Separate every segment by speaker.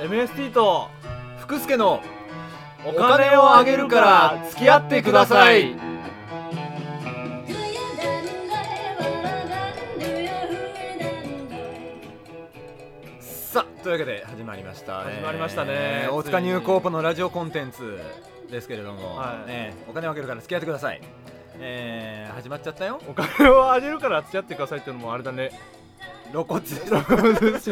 Speaker 1: MST と福助のお金をあげるから付き合ってくださいさあというわけで始まりました
Speaker 2: 始まりましたね
Speaker 1: えー大塚ニューコープのラジオコンテンツですけれども、
Speaker 2: はい
Speaker 1: ねお金をあげるから付き合ってくださいえー、始まっちゃったよ
Speaker 2: お金をあげるから付き合ってくださいっていうのもあれだ ね
Speaker 1: 露骨
Speaker 2: ですけ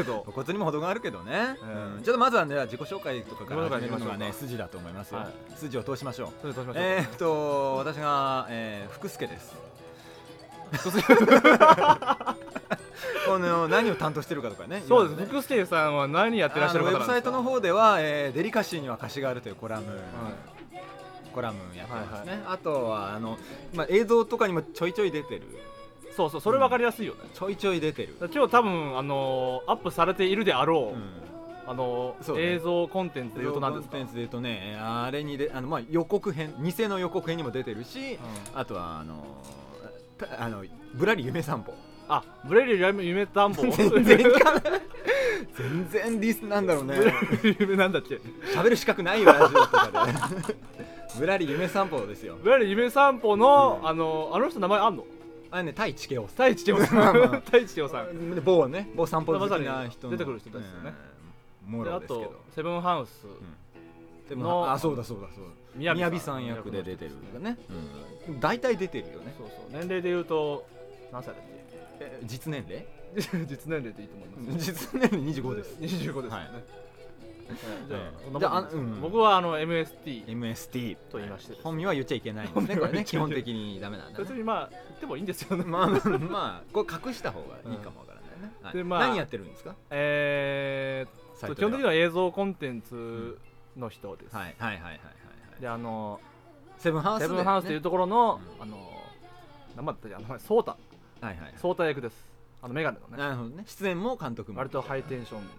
Speaker 2: ど
Speaker 1: 露骨にも程があるけどね、
Speaker 2: うん
Speaker 1: うんちょっとまずはね自己紹介とかから
Speaker 2: 自己紹介
Speaker 1: 始め
Speaker 2: しま
Speaker 1: るのが
Speaker 2: しょう
Speaker 1: ね
Speaker 2: か
Speaker 1: 筋だと思いますよ、
Speaker 2: はい
Speaker 1: 筋を通しましょう
Speaker 2: それどうしましょう
Speaker 1: えー、っと私が、えー、福助です この何を担当してるかとかね
Speaker 2: そうです、
Speaker 1: 今のね
Speaker 2: 福助さんは何やってらっしゃる
Speaker 1: あ
Speaker 2: 方
Speaker 1: の
Speaker 2: なんですか
Speaker 1: ウェブサイトの方では、えーデリカシーには貸しがある」というコラム、
Speaker 2: はい
Speaker 1: コラムやってますね、あとはあの、まあ、映像とかにもちょいちょい出てる
Speaker 2: そうそうそれ分かりやすいよね、
Speaker 1: ちょいちょい出てる、
Speaker 2: だから今日多分あのーアップされているであろう、
Speaker 1: ん、
Speaker 2: あのー
Speaker 1: そうね
Speaker 2: 映像コンテンツで言うと何ですか
Speaker 1: コンテンツで言うとねえーあれにであの、まあ、予告編偽の予告編にも出てるし、あとはあのーたあのぶらり夢 散歩
Speaker 2: あブレリル夢暖 房
Speaker 1: 全然いかない全然ディスなんだろうね
Speaker 2: ブレリル夢なんだっけ
Speaker 1: 喋る資格ないよラジオとかでぶらり夢散歩ですよ
Speaker 2: ブレリル夢散歩の、
Speaker 1: うん
Speaker 2: あのーあの人名前あんの
Speaker 1: あれね対地形を
Speaker 2: 太一千代
Speaker 1: ま
Speaker 2: さ
Speaker 1: あ
Speaker 2: ん
Speaker 1: まあ
Speaker 2: 太一千代さん
Speaker 1: で某ね某散歩好き
Speaker 2: まさ
Speaker 1: な
Speaker 2: に
Speaker 1: 人の
Speaker 2: 出てくる人たちですよね
Speaker 1: うんも
Speaker 2: で
Speaker 1: ろ
Speaker 2: あ
Speaker 1: ですけど
Speaker 2: とセブンハウス、
Speaker 1: で
Speaker 2: の
Speaker 1: もあそうだそうだそうだ
Speaker 2: み
Speaker 1: 宮
Speaker 2: や
Speaker 1: 城
Speaker 2: び
Speaker 1: さん役で出てるとかね、うん、大体出てるよね
Speaker 2: そうそう年齢で言うと何歳だっ
Speaker 1: え実年齢
Speaker 2: け実年齢でいいと思います
Speaker 1: 実年齢25です
Speaker 2: 25ですよね、
Speaker 1: はい
Speaker 2: じゃあ、こんなもんです
Speaker 1: はいじゃああうん
Speaker 2: 僕はあの MST
Speaker 1: MST
Speaker 2: と言いましてです
Speaker 1: 本名は言っちゃいけないんですね
Speaker 2: 本名
Speaker 1: こ
Speaker 2: は
Speaker 1: れ
Speaker 2: 言
Speaker 1: ね
Speaker 2: っちゃ
Speaker 1: 基
Speaker 2: いけない
Speaker 1: 本的にダメなんだ
Speaker 2: 別
Speaker 1: ね
Speaker 2: にまあ言ってもいいんですよね、
Speaker 1: まあまあまあこれ隠した方がいいかもわからないね、はい
Speaker 2: でまあ
Speaker 1: 何やってるんですか
Speaker 2: えーっ
Speaker 1: サイ
Speaker 2: と基本
Speaker 1: トでは
Speaker 2: 的には映像コンテンツの人です、
Speaker 1: はいはいはいはいはい
Speaker 2: で
Speaker 1: はい
Speaker 2: あの
Speaker 1: セブンハウス
Speaker 2: セ
Speaker 1: で
Speaker 2: ブンハウスという
Speaker 1: ね
Speaker 2: ところの、
Speaker 1: う
Speaker 2: あの名前だったっけあのソータ
Speaker 1: はいはいはい
Speaker 2: ソータ役ですあのメガネのね
Speaker 1: なるほどね出演も監督も
Speaker 2: 割とハイテンションの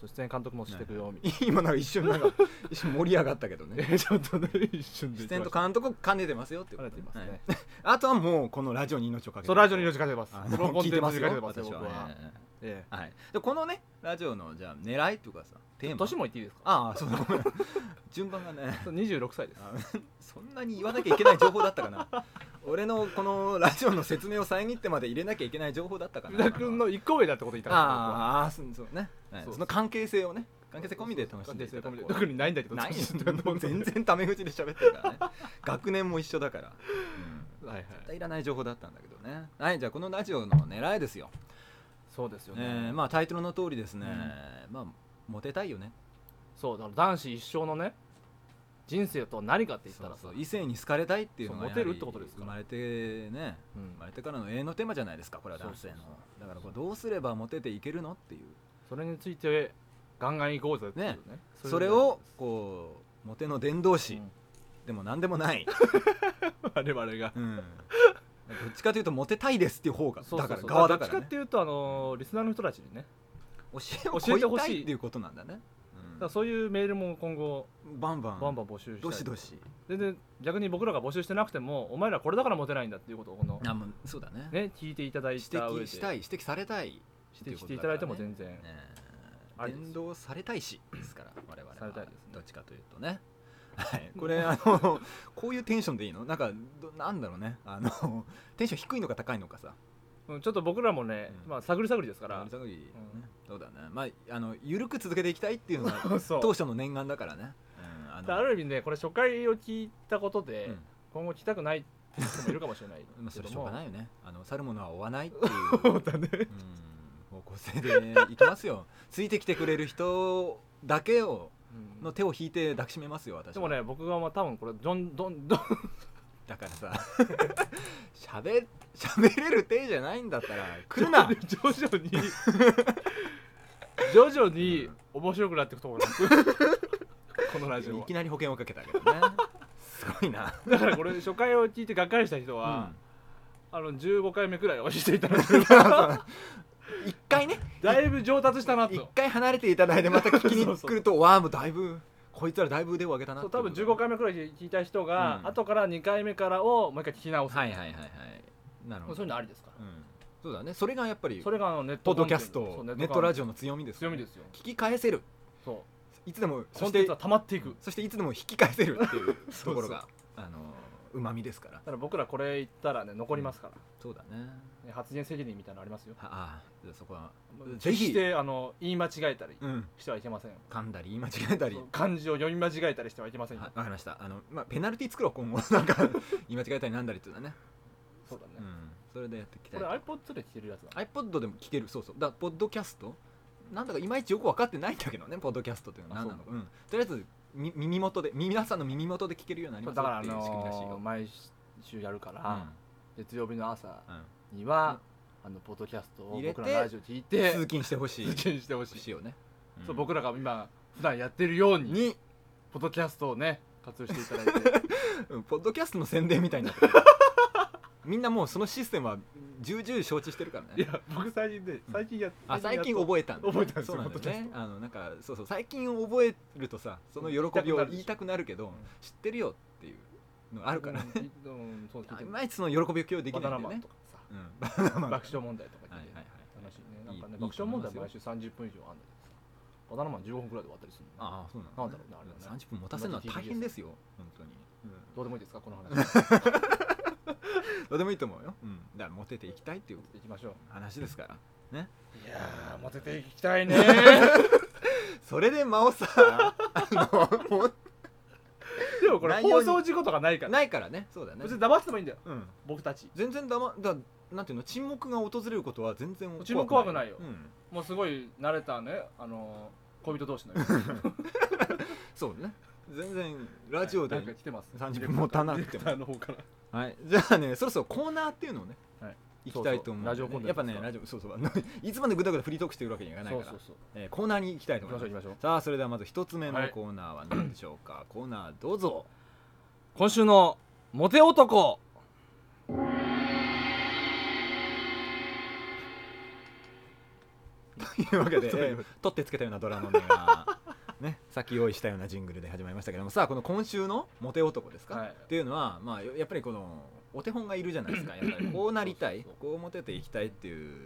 Speaker 2: そう出演監督もしてくよみたい
Speaker 1: 今なんか一瞬なんか一瞬盛り上がった けど
Speaker 2: な、
Speaker 1: ね
Speaker 2: えちょっとね一瞬で
Speaker 1: 出演と監督を兼ねてますよって
Speaker 2: 言
Speaker 1: こ
Speaker 2: わ
Speaker 1: と
Speaker 2: れていますね、
Speaker 1: はいあとはもうこのラジオに命をかけて
Speaker 2: そうラジオに命かけてます
Speaker 1: あ
Speaker 2: このコンテン
Speaker 1: 聞い
Speaker 2: ツ
Speaker 1: て
Speaker 2: に
Speaker 1: ます
Speaker 2: 命か
Speaker 1: よ
Speaker 2: けてますよ
Speaker 1: 私
Speaker 2: 僕
Speaker 1: は
Speaker 2: は、
Speaker 1: ええ
Speaker 2: え
Speaker 1: はい、でこのねラジオのじゃあ狙いというかさテー
Speaker 2: え
Speaker 1: マ
Speaker 2: 年も言っていいですか
Speaker 1: ああそうだ ごめん順番がね
Speaker 2: そう26歳です
Speaker 1: あそんなに言わなきゃいけない情報だったかな俺のこのラジオの説明を遮ってまで入れなきゃいけない情報だったか
Speaker 2: 福
Speaker 1: な
Speaker 2: 田君の一個上だってこと言ったから
Speaker 1: あーあーそうそうね、はい
Speaker 2: そう
Speaker 1: その関係性をね関係性
Speaker 2: 僕は
Speaker 1: 込みで楽しんで
Speaker 2: 関
Speaker 1: い
Speaker 2: 係性込
Speaker 1: ただこ
Speaker 2: みで
Speaker 1: う
Speaker 2: 特にないんだけど
Speaker 1: ない全
Speaker 2: 全然
Speaker 1: 然タメ口で喋ってるからね学年も一緒だから、うん、
Speaker 2: はいはい
Speaker 1: 絶対いらない情報だったんだけどねはいじゃあこのラジオの狙いですよ、
Speaker 2: そうですよね、
Speaker 1: えーまあタイトルの通りですね、まあモテたいよね
Speaker 2: そうだから男子一生のね人生とは何かって言ったらさ
Speaker 1: そうそう異性に好かれたいっていうのが
Speaker 2: そうモテるってことですか
Speaker 1: 生
Speaker 2: ら
Speaker 1: まれてね
Speaker 2: うん
Speaker 1: 生まれてからの永遠のテーマじゃないですかこれは男性の
Speaker 2: そうそう
Speaker 1: だからこれどうすればモテていけるのっていう
Speaker 2: それについてガンガン行こうぜっていうね
Speaker 1: ねそれをこうモテの伝道師、
Speaker 2: うん
Speaker 1: でも何でも ない、
Speaker 2: 我々が
Speaker 1: うん、どっちかというとモテたいですっていう方が
Speaker 2: そうそうそう
Speaker 1: だから側だか
Speaker 2: ど
Speaker 1: ら、
Speaker 2: っちか
Speaker 1: ね
Speaker 2: っ、ていうとあのーリスナーの人たちにね
Speaker 1: 教え
Speaker 2: 教
Speaker 1: を
Speaker 2: えてほしい
Speaker 1: 超えたいっていうことなんだね、
Speaker 2: だか
Speaker 1: う
Speaker 2: らそういうメールも今後
Speaker 1: ん、バンバン
Speaker 2: バンバン募集して
Speaker 1: どしどし
Speaker 2: 全然逆に僕らが募集してなくてもお前らこれだからモテないんだっていうことをこの
Speaker 1: あもうそうだね
Speaker 2: ね聞いていただい
Speaker 1: 指
Speaker 2: た上で
Speaker 1: 摘したい指摘されたい
Speaker 2: 指摘していただいても全然
Speaker 1: ね
Speaker 2: ありです
Speaker 1: 伝道されたいしですから我々は
Speaker 2: されたいですね
Speaker 1: どっちかというとね はいこれあのこういうテンションでいいのなんかどなんだろうねあのテンション低いのか高いのかさ
Speaker 2: うんちょっと僕らもね
Speaker 1: うん
Speaker 2: まあ探り探りですか
Speaker 1: だ
Speaker 2: ら
Speaker 1: そうだねまああの緩く続けていきたいっていうの が
Speaker 2: そう
Speaker 1: 当初の念願だからね、うんあ
Speaker 2: だからある意味ねこれ初回を聞いたことで、
Speaker 1: うん
Speaker 2: 今後聞きたくない人もいるかもしれない
Speaker 1: まあそれし
Speaker 2: けど
Speaker 1: ょう
Speaker 2: も
Speaker 1: がないよねあの去る者は追わないってい
Speaker 2: そう うだね
Speaker 1: うん方向性でいきますよついてきてくれる人だけを
Speaker 2: うん
Speaker 1: の手を引いて抱きしめますよ私は
Speaker 2: でもね僕はまあ多分これどんどんどん
Speaker 1: だからさ 喋喋れる体じゃないんだっ たら来るな
Speaker 2: 徐々 に徐々に面白くなっていくと思います このラジオ
Speaker 1: い
Speaker 2: は
Speaker 1: きなり保険をかけたけど ねすごいな、
Speaker 2: だからこれ初回を聞いてがっかりした人
Speaker 1: う
Speaker 2: は
Speaker 1: ん、
Speaker 2: あの15回目くらいはしてい ただければ
Speaker 1: 一回ね
Speaker 2: だいぶ上達したなと
Speaker 1: 一回離れていただいてまた聞きに
Speaker 2: そうそう
Speaker 1: 来るとわあもうだいぶこいつらだいぶ腕を上げたな
Speaker 2: そう多分15回目くらい聞いた人が、
Speaker 1: うん
Speaker 2: 後から2回目からをもう一回聞き直す、
Speaker 1: はいはいはいはいなる
Speaker 2: そう
Speaker 1: ほ
Speaker 2: いう
Speaker 1: ど
Speaker 2: のありですから、
Speaker 1: うんそうだねそれがやっぱり
Speaker 2: それがあのネッ
Speaker 1: ポ
Speaker 2: ト
Speaker 1: ッドキャスト
Speaker 2: そう
Speaker 1: ネットラ
Speaker 2: ジ
Speaker 1: ジオの強みです
Speaker 2: 強みですすよ
Speaker 1: 聞き返せる
Speaker 2: そ
Speaker 1: いつで
Speaker 2: コ
Speaker 1: もそ
Speaker 2: ン
Speaker 1: し
Speaker 2: テン
Speaker 1: て
Speaker 2: ツは溜まっていくだ
Speaker 1: そしていつでも引き返せる っていう
Speaker 2: そう
Speaker 1: ところがあのうまみですから
Speaker 2: から僕らこれ言ったらね残りますから、
Speaker 1: そうだね
Speaker 2: ね発言責任みたいなのありますよ
Speaker 1: はああじゃあそこはぜ
Speaker 2: 決
Speaker 1: ひ
Speaker 2: してあの言い間違えたり
Speaker 1: うん
Speaker 2: してはいけませんよ
Speaker 1: 噛んだり言い間違えたり
Speaker 2: そう漢字を読み間違えたりしてはいけませんよ
Speaker 1: はわかりましたあの、まあ、ペナルティ作ろう今後 なんか言い間違えたりなんだりっていうのはね、
Speaker 2: そうだね、
Speaker 1: うん、それでやっていきた
Speaker 2: こ
Speaker 1: い
Speaker 2: れ iPod で聴けるやつだ、ね、
Speaker 1: iPod でも聞けるそうそうだからポッドキャストなんだかいまいちよく分かってないんだけどねポッドキャストっていうのは
Speaker 2: あ
Speaker 1: 何なのかうん、とりあえずみ耳元でみ皆さんの耳元で聞けるようになり
Speaker 2: これだ
Speaker 1: ます
Speaker 2: から
Speaker 1: よ
Speaker 2: あ
Speaker 1: っていう仕組みらしい
Speaker 2: のー
Speaker 1: よ、
Speaker 2: 毎週やるから、月曜日の朝
Speaker 1: うんうん
Speaker 2: には、あのポッドキャストを
Speaker 1: 入れて
Speaker 2: 僕らのラジオ聞いて
Speaker 1: 通勤してほしい
Speaker 2: 通勤してほしい
Speaker 1: しようね、ん
Speaker 2: そう僕らが今普段やってるように
Speaker 1: に、
Speaker 2: ポッドキャストをね活用していただいて
Speaker 1: うんポッドキャストの宣伝みたいにな ってるみんなもうそのシステムは重々承知してるから
Speaker 2: い
Speaker 1: ね
Speaker 2: や僕最近ね最近やっ
Speaker 1: あ最近
Speaker 2: やっと
Speaker 1: 覚えたんだ
Speaker 2: 覚えたんです
Speaker 1: そ
Speaker 2: よ
Speaker 1: うなんだ
Speaker 2: ポ
Speaker 1: よ
Speaker 2: ッドキャ
Speaker 1: ねあのなんかそうそう最近覚えるとさその喜びを言いたくなるけど
Speaker 2: うん
Speaker 1: 知ってるよっていうのあるから、
Speaker 2: うんいうんそう聞い
Speaker 1: あ
Speaker 2: て
Speaker 1: い
Speaker 2: る
Speaker 1: まいちその喜びを共有で
Speaker 2: バ
Speaker 1: きない
Speaker 2: ナ
Speaker 1: んだ
Speaker 2: ナマン
Speaker 1: よね
Speaker 2: とかさ
Speaker 1: うんバナナマン
Speaker 2: 爆笑問題とか
Speaker 1: はい
Speaker 2: 聞い
Speaker 1: はい
Speaker 2: て
Speaker 1: はい
Speaker 2: 楽しいねなんかね
Speaker 1: いい
Speaker 2: 爆笑問題
Speaker 1: いいと思い
Speaker 2: 毎
Speaker 1: ます
Speaker 2: 週30分以上あんだけどさバナナマン15分くらいで終わったりするの
Speaker 1: ああそうなん
Speaker 2: なんだろうねあれはね
Speaker 1: 30分持たせるのは大変ですよ本当に、
Speaker 2: どうでもいいですかこの 話
Speaker 1: うんどうでもいいと思うよ、うん、だからモテていきたいっていう
Speaker 2: いきましょう
Speaker 1: 話ですから
Speaker 2: いやーモテていきたいね
Speaker 1: それで間をさあのも
Speaker 2: でもこれ
Speaker 1: 内容
Speaker 2: 放
Speaker 1: に
Speaker 2: 送事故とかないか
Speaker 1: う
Speaker 2: ら
Speaker 1: ないからねそうだね
Speaker 2: 別に黙っててもいいんだよ
Speaker 1: うん
Speaker 2: 僕たち
Speaker 1: 全然だまだなんていうの沈黙が訪れることは全然
Speaker 2: うちも怖くないよ
Speaker 1: うん、
Speaker 2: もうすごい慣れたねあのー恋人同士のように
Speaker 1: そうね全然ラジオで、
Speaker 2: なんか来てます
Speaker 1: 30分持たなくても
Speaker 2: ディレクターの方から
Speaker 1: はい、じゃあねそろそろコーナーっていうのをね、
Speaker 2: はい
Speaker 1: 行きたいと思うん
Speaker 2: そうそう
Speaker 1: でね、
Speaker 2: ラジオコーナー
Speaker 1: やっぱね
Speaker 2: ですか
Speaker 1: ラジオそうそうあの いつまでぐだぐだフリートークしてるわけにはいかない
Speaker 2: そ
Speaker 1: か
Speaker 2: う
Speaker 1: ら
Speaker 2: そうそう
Speaker 1: えーコーナーに行きたいと
Speaker 2: 行き
Speaker 1: 思
Speaker 2: ま
Speaker 1: い
Speaker 2: しょ
Speaker 1: ま
Speaker 2: う
Speaker 1: す
Speaker 2: 行きましょう
Speaker 1: さあそれではまず一つ目
Speaker 2: は
Speaker 1: の
Speaker 2: い
Speaker 1: コーナーは何でしょうか、コーナーどうぞ
Speaker 2: 今週のモテ男
Speaker 1: というわけで、え
Speaker 2: そういう
Speaker 1: ー取ってつけたようなドラの 音が、ね、さっき用意したようなジングルで始まりましたけどもさあこの今週のモテ男ですか、
Speaker 2: はい
Speaker 1: っていうのは、まあ、ややっぱりこのお手本がいるじゃないですかやっぱりこうなりた
Speaker 2: そ
Speaker 1: い
Speaker 2: うそう
Speaker 1: こうモテていきたいっていう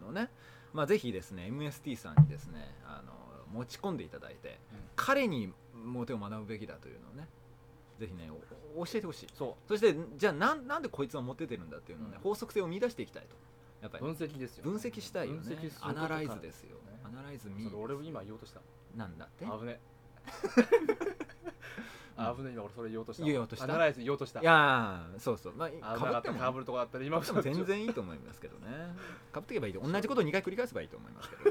Speaker 1: のね、まあ、ぜひですね MST さんにですねあの持ち込んでいただいて、
Speaker 2: うん
Speaker 1: 彼にモテを学ぶべきだというのをねぜひねお教えてほしい
Speaker 2: そ
Speaker 1: そしてじゃあなんなんでこいつはモテてるんだっていうのをね、
Speaker 2: うん
Speaker 1: 法則性を見出していきたいとやっぱ
Speaker 2: う
Speaker 1: り
Speaker 2: 分析ですよ
Speaker 1: 分析したいよね
Speaker 2: 分析すること
Speaker 1: アナライズですよ、
Speaker 2: ね
Speaker 1: アナライズ
Speaker 2: ちょ
Speaker 1: ミ
Speaker 2: っと俺も今言おうとした
Speaker 1: なんだって
Speaker 2: 危ね危ね今俺それ言おうとした
Speaker 1: 言おうとした
Speaker 2: アナライズ言おうとした
Speaker 1: いやーそうそうま
Speaker 2: 危
Speaker 1: あ
Speaker 2: な
Speaker 1: かぶ
Speaker 2: か
Speaker 1: っ
Speaker 2: ってた
Speaker 1: も
Speaker 2: かぶるとこだったら今
Speaker 1: でも全然いいと思いますけ どねかぶっていけばいいと同じことを2回繰り返せばいいと思いますけ ど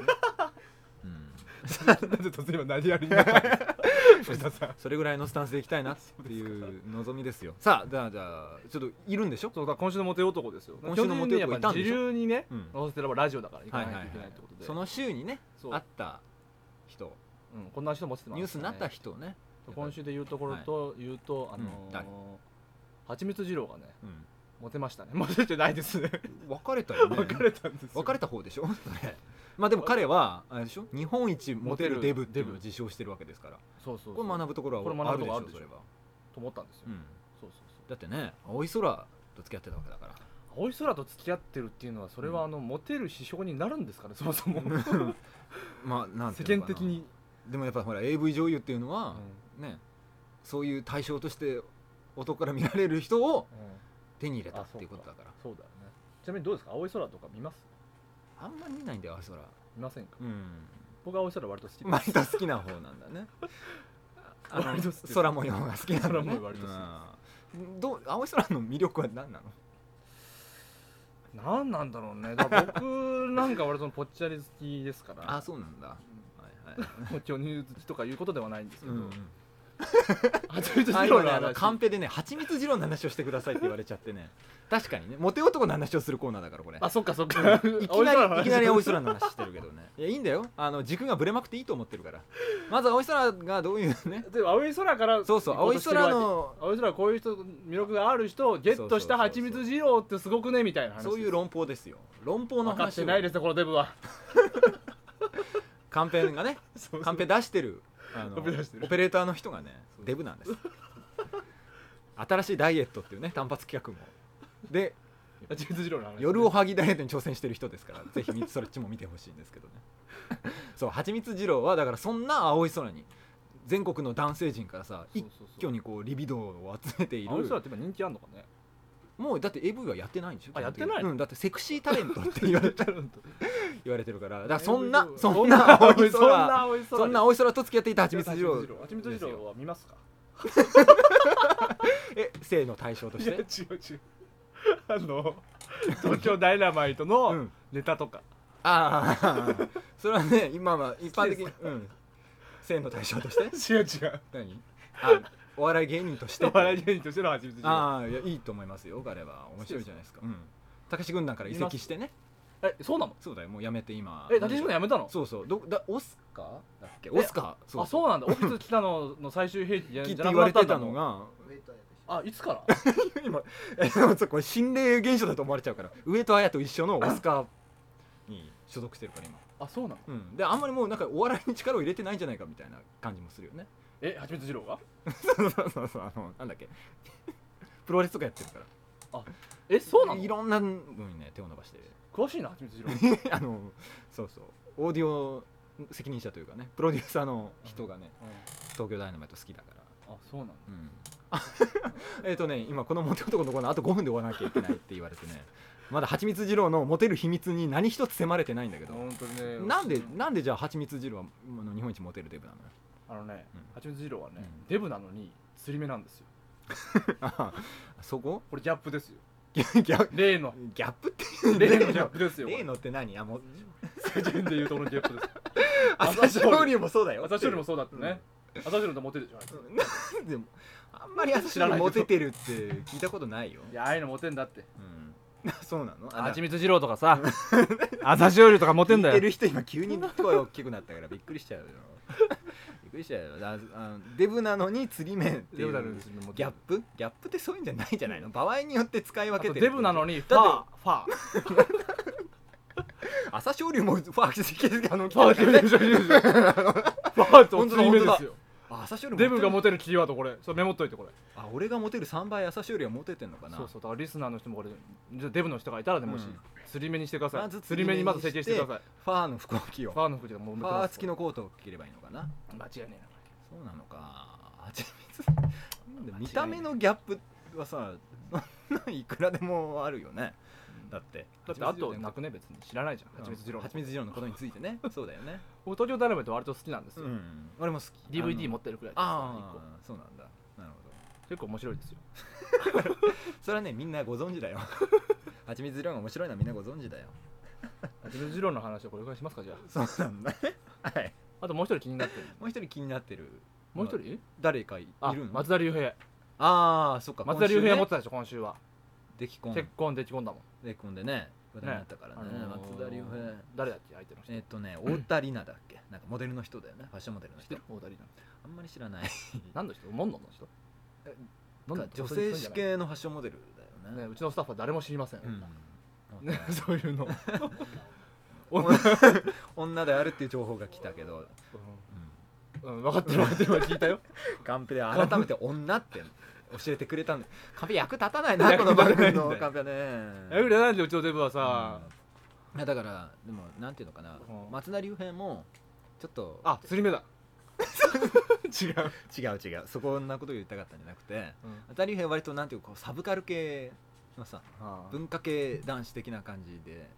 Speaker 1: ね、
Speaker 2: なんで突然今何やりなが ら藤田さん
Speaker 1: うん、それぐらいのスタンスでいきたいなっていう望みですよさあじゃあじゃあちょっといるんでしょ
Speaker 2: そうだから今週のモテ男ですよ
Speaker 1: 今週のモテ男いたんでしょ
Speaker 2: 基本的にねやっぱ時
Speaker 1: う
Speaker 2: 流に
Speaker 1: ん
Speaker 2: ね乗せてればラジオだから行
Speaker 1: は
Speaker 2: か
Speaker 1: いはい
Speaker 2: なとい
Speaker 1: はいい
Speaker 2: けないってことで
Speaker 1: その週にね
Speaker 2: そう
Speaker 1: あった人
Speaker 2: うんこんな人も落ちてます
Speaker 1: ニュースになった
Speaker 2: ね
Speaker 1: 人ね
Speaker 2: 今週で言うところと言うとあの
Speaker 1: うん
Speaker 2: ー
Speaker 1: 誰
Speaker 2: はちみつ二郎がね
Speaker 1: うん
Speaker 2: モテましたねモテてないですね
Speaker 1: 別れたよね
Speaker 2: 別れたんですよ
Speaker 1: 別れた方でし ょそれまあでも彼はあれでしょ日本一モテるデブっていうのを
Speaker 2: デブ
Speaker 1: 自称してるわけですから
Speaker 2: そうそう
Speaker 1: これ学ぶところ
Speaker 2: これ
Speaker 1: はあ
Speaker 2: 学
Speaker 1: る
Speaker 2: ぶと
Speaker 1: でし
Speaker 2: こ
Speaker 1: ょ
Speaker 2: あるでしょ
Speaker 1: それは、
Speaker 2: と思ったんですよ
Speaker 1: うん、
Speaker 2: そうそうそう
Speaker 1: だってね青い空と付き合ってたわけだから
Speaker 2: 青い空と付き合ってるっていうのはそれはあのモテる指標になるんですか ねそもそも
Speaker 1: まあなんて
Speaker 2: 世
Speaker 1: いう
Speaker 2: 間
Speaker 1: のかな
Speaker 2: 的に
Speaker 1: でもやっぱほら AV 女優っていうの
Speaker 2: うん
Speaker 1: は、ねそういう対象として男から見られる人を手に入れた
Speaker 2: あ
Speaker 1: っていうことだから
Speaker 2: そうだよねちなみにどうですか青い空とか見ます
Speaker 1: あんまり見ないんだよ青い空
Speaker 2: 見ませんか
Speaker 1: うん
Speaker 2: 僕青い空割と好きです
Speaker 1: 割と好きな方なんだねあの
Speaker 2: 割と好きです
Speaker 1: 空模様が好きなの、ね、
Speaker 2: 空模様割と好き
Speaker 1: うんどう青い空の魅力は何なの
Speaker 2: なんなんだろうねだから僕なんか割とぽっちゃり好きですから
Speaker 1: あそうなんだは
Speaker 2: う
Speaker 1: いはい
Speaker 2: んもう巨乳好きとかいうことではないんですけ
Speaker 1: う
Speaker 2: ど、
Speaker 1: ん
Speaker 2: はちみつ
Speaker 1: あ
Speaker 2: 二郎の
Speaker 1: 今ねあの
Speaker 2: 話
Speaker 1: カンペでね蜂蜜二郎の話をしてくださいって言われちゃってね確かにねモテ男の話をするコーナーだからこれ
Speaker 2: あそっかそっか
Speaker 1: いきなりいきなり青い
Speaker 2: 空
Speaker 1: 空の話してるけどね いやいいんだよあの軸がぶれまくっていいと思ってるからまず青い空がどういうね
Speaker 2: でも青い空から
Speaker 1: そうそう
Speaker 2: 行こ
Speaker 1: 青
Speaker 2: と
Speaker 1: い
Speaker 2: してるわけ
Speaker 1: 空の
Speaker 2: 青い空こういう人魅力がある人をゲットした
Speaker 1: そうそうそうそう
Speaker 2: はちみつ二郎ってすごくねみたいな話
Speaker 1: そういう論法ですよ論法の
Speaker 2: 分かっ
Speaker 1: 話
Speaker 2: て
Speaker 1: を
Speaker 2: ないですよこのデブは
Speaker 1: カンペが ねカンペ出してるあの
Speaker 2: カンペ出してる
Speaker 1: オペレーターの人がねデブなん です新しいダイエットっていうね単発企画もで
Speaker 2: はちみつ二郎の話
Speaker 1: 夜おはぎダイエットに挑戦してる人で すからぜ ひみそれっちも見てほしいんですけどねそうはちみつ二郎はだからそんな青い空に全国の男性陣からさ一
Speaker 2: そうそう
Speaker 1: 挙にこうリビドーを集めてい
Speaker 2: あの人だ
Speaker 1: る
Speaker 2: って今人気あんのかね
Speaker 1: もうだって AV はやってないんでしょ
Speaker 2: あやってないの
Speaker 1: うん、だってセクシータレントって言われて 言われてるからだからそんな
Speaker 2: AV
Speaker 1: そんな青い
Speaker 2: そん
Speaker 1: 空
Speaker 2: な青い空
Speaker 1: そんな青い空と付き合っていたはちみつ二郎
Speaker 2: はちみつ二郎は見ますか
Speaker 1: え性の対象と
Speaker 2: い
Speaker 1: し
Speaker 2: や違う
Speaker 1: て
Speaker 2: 違う あの東京ダイナマイト
Speaker 1: う
Speaker 2: の
Speaker 1: ん
Speaker 2: ネタとか
Speaker 1: ああ それはね今は一 般的に
Speaker 2: 好
Speaker 1: うん性の対象として
Speaker 2: 違う違う
Speaker 1: 何 あお笑い芸人として
Speaker 2: お笑い芸人としてのはちみつ二郎
Speaker 1: ああいやいいと思いますよ彼は面白いじゃないですかうんたけし軍団から移籍してね
Speaker 2: えそうなの
Speaker 1: そうだよもうやめて今
Speaker 2: え私もやめたの
Speaker 1: そうそうどだオスカーだっけオスカー
Speaker 2: あそうなんだオフィス北野の最終兵器 じゃ
Speaker 1: き
Speaker 2: なく
Speaker 1: って
Speaker 2: な
Speaker 1: 言
Speaker 2: く
Speaker 1: わ
Speaker 2: な
Speaker 1: れ
Speaker 2: った
Speaker 1: て
Speaker 2: んだ
Speaker 1: た
Speaker 2: も
Speaker 1: の
Speaker 2: ん
Speaker 1: が
Speaker 2: あいつ から
Speaker 1: 今えでもさこれ心霊現象だと思われちゃうから上戸彩と一緒のオスカーに所属してるから今
Speaker 2: あそうなの
Speaker 1: うんであんまりもうなんかお笑いに力を入れてないんじゃないかみたいな感じもするよ ね
Speaker 2: えはちみつ二郎が
Speaker 1: そうそうそうそうあのなんだっけ プロレスとかやってるから
Speaker 2: えそうなの
Speaker 1: いろんな分にね手を伸ばして
Speaker 2: 詳しいなはちみつ二 郎
Speaker 1: あのそうそうオーディオ責任者というかねプロデューサーの人がね東京ダイナマイト好きだから
Speaker 2: あそうなの
Speaker 1: うん えっとね今このモテ男のコーナーあと5分で終わらなきゃいけないって言われてねまだはちみつ二郎のモテる秘密に何一つ迫れてないんだけど
Speaker 2: 本当にね
Speaker 1: なんでなんでじゃあはちみつ二郎はあの日本一モテるデブなのよ
Speaker 2: あのね
Speaker 1: うん
Speaker 2: はちみつ二郎はね
Speaker 1: うん
Speaker 2: デブなのに釣り目なんですよ
Speaker 1: あそこ
Speaker 2: これギャップですよ
Speaker 1: ギャギャ
Speaker 2: 例の
Speaker 1: ギャップ って
Speaker 2: 例のギャップですよこれ
Speaker 1: 例のって何あもう
Speaker 2: 世間で言うとこのギャップです
Speaker 1: 朝青龍もそうだよ
Speaker 2: 朝青龍もそうだってね朝青龍とモテるでしょあいつ
Speaker 1: なんでもあんまり私にモテてるって聞いたことないよ
Speaker 2: いやああいうのモテんだって
Speaker 1: うん、 そうなの
Speaker 2: はちみつ二郎とか さ朝青龍とかモテんだ
Speaker 1: 聞いて
Speaker 2: よ
Speaker 1: る人今急に声大きくなったからびっくりしちゃうよびっくりしちゃうよだあのデブなのに釣り目っていうギャップギャップってそういうんじゃないじゃないの場合によって使い分
Speaker 2: あ
Speaker 1: け
Speaker 2: と
Speaker 1: て
Speaker 2: デブなのにファ
Speaker 1: だ
Speaker 2: ー
Speaker 1: っ
Speaker 2: ファー
Speaker 1: 朝青龍もファーしてあの
Speaker 2: ファー
Speaker 1: 来
Speaker 2: ってて言
Speaker 1: る
Speaker 2: うでしょ言うでしょファーってお
Speaker 1: 本
Speaker 2: 釣
Speaker 1: 当だ
Speaker 2: り
Speaker 1: 本
Speaker 2: 目
Speaker 1: 当
Speaker 2: で
Speaker 1: だ
Speaker 2: すよ
Speaker 1: あ朝青龍
Speaker 2: デブがモ
Speaker 1: テ
Speaker 2: テるキーワードこれそれメモっといてこれ
Speaker 1: あ俺がモテる3倍朝青龍はモテてんのかな
Speaker 2: そうそうだからリスナーの人もこれじゃあデブの人がいたらねもし
Speaker 1: うん
Speaker 2: 釣り目にしてくださ
Speaker 1: ま
Speaker 2: い
Speaker 1: ず
Speaker 2: 釣り目にまず整
Speaker 1: 釣
Speaker 2: 形し
Speaker 1: り目にして
Speaker 2: てください
Speaker 1: ファーの服を着よう
Speaker 2: ファーの服でもう
Speaker 1: フ
Speaker 2: め
Speaker 1: ァー付きのコートを着ればいいのかな
Speaker 2: 間違いねえな
Speaker 1: そうなのかはちみつ見た目のギャップはさ そんなんいくらでもあるよねだって
Speaker 2: だってあとなくね別に知らないじゃんはちみつ二郎
Speaker 1: はちみつ二郎のことについ てねそうだよね
Speaker 2: お東京ダイナマイト割と好きなんですよ
Speaker 1: ん俺も好き
Speaker 2: DVD 持
Speaker 1: っ
Speaker 2: ってるくらいです
Speaker 1: あ
Speaker 2: 一
Speaker 1: のあーそうなんだなるほ ど
Speaker 2: 個結構面白いですよ
Speaker 1: それはねみんなご存 知だよはちみつ二郎が面白いのはみんなご存知だよ
Speaker 2: はちみつ二郎の話をこれぐらいしますかじゃあ
Speaker 1: そうなんだねはい
Speaker 2: あともう一人気にな ってる
Speaker 1: もう一人気になってる
Speaker 2: もう一人
Speaker 1: 誰かい
Speaker 2: あ
Speaker 1: いるの
Speaker 2: 松田龍平
Speaker 1: あーそっか
Speaker 2: 松田龍平持っ
Speaker 1: も
Speaker 2: てたでしょ今週は
Speaker 1: でき婚
Speaker 2: 結婚でき込んだもん
Speaker 1: でき婚でね話題になったからね
Speaker 2: あのー
Speaker 1: 松田龍平
Speaker 2: 誰だっけ相手の人
Speaker 1: えっとね太田里奈だっけなんかモデルの人だよねファッションモデルの
Speaker 2: 知っ
Speaker 1: 人
Speaker 2: てる大田里奈
Speaker 1: あんまり知らない
Speaker 2: 何の人モンノの人
Speaker 1: え
Speaker 2: モンノとか
Speaker 1: 女
Speaker 2: そうい
Speaker 1: 性
Speaker 2: う
Speaker 1: 誌
Speaker 2: 人じゃ
Speaker 1: 系のファッションモデルだよ
Speaker 2: ないね
Speaker 1: ね
Speaker 2: うちのスタッフは誰も知りません、
Speaker 1: うん
Speaker 2: ね、そういう の
Speaker 1: 女女であるっていう情報が来たけど、
Speaker 2: うん、分かってる分 かってる聞いたよ
Speaker 1: カンペで改めて女って教えてくれたんでカンペ役立たないなこの番組のカンペはね
Speaker 2: えぐれないでうちのデブはさ、
Speaker 1: うんいやだからでもなんていうのかな
Speaker 2: うん
Speaker 1: 松田龍平もちょっと
Speaker 2: あ釣り 目だ違う、
Speaker 1: 違う違うそこんなこと言いたかったんじゃなくて松田龍平は割となんていうかこうサブカル系のさ文化系男子的な感じで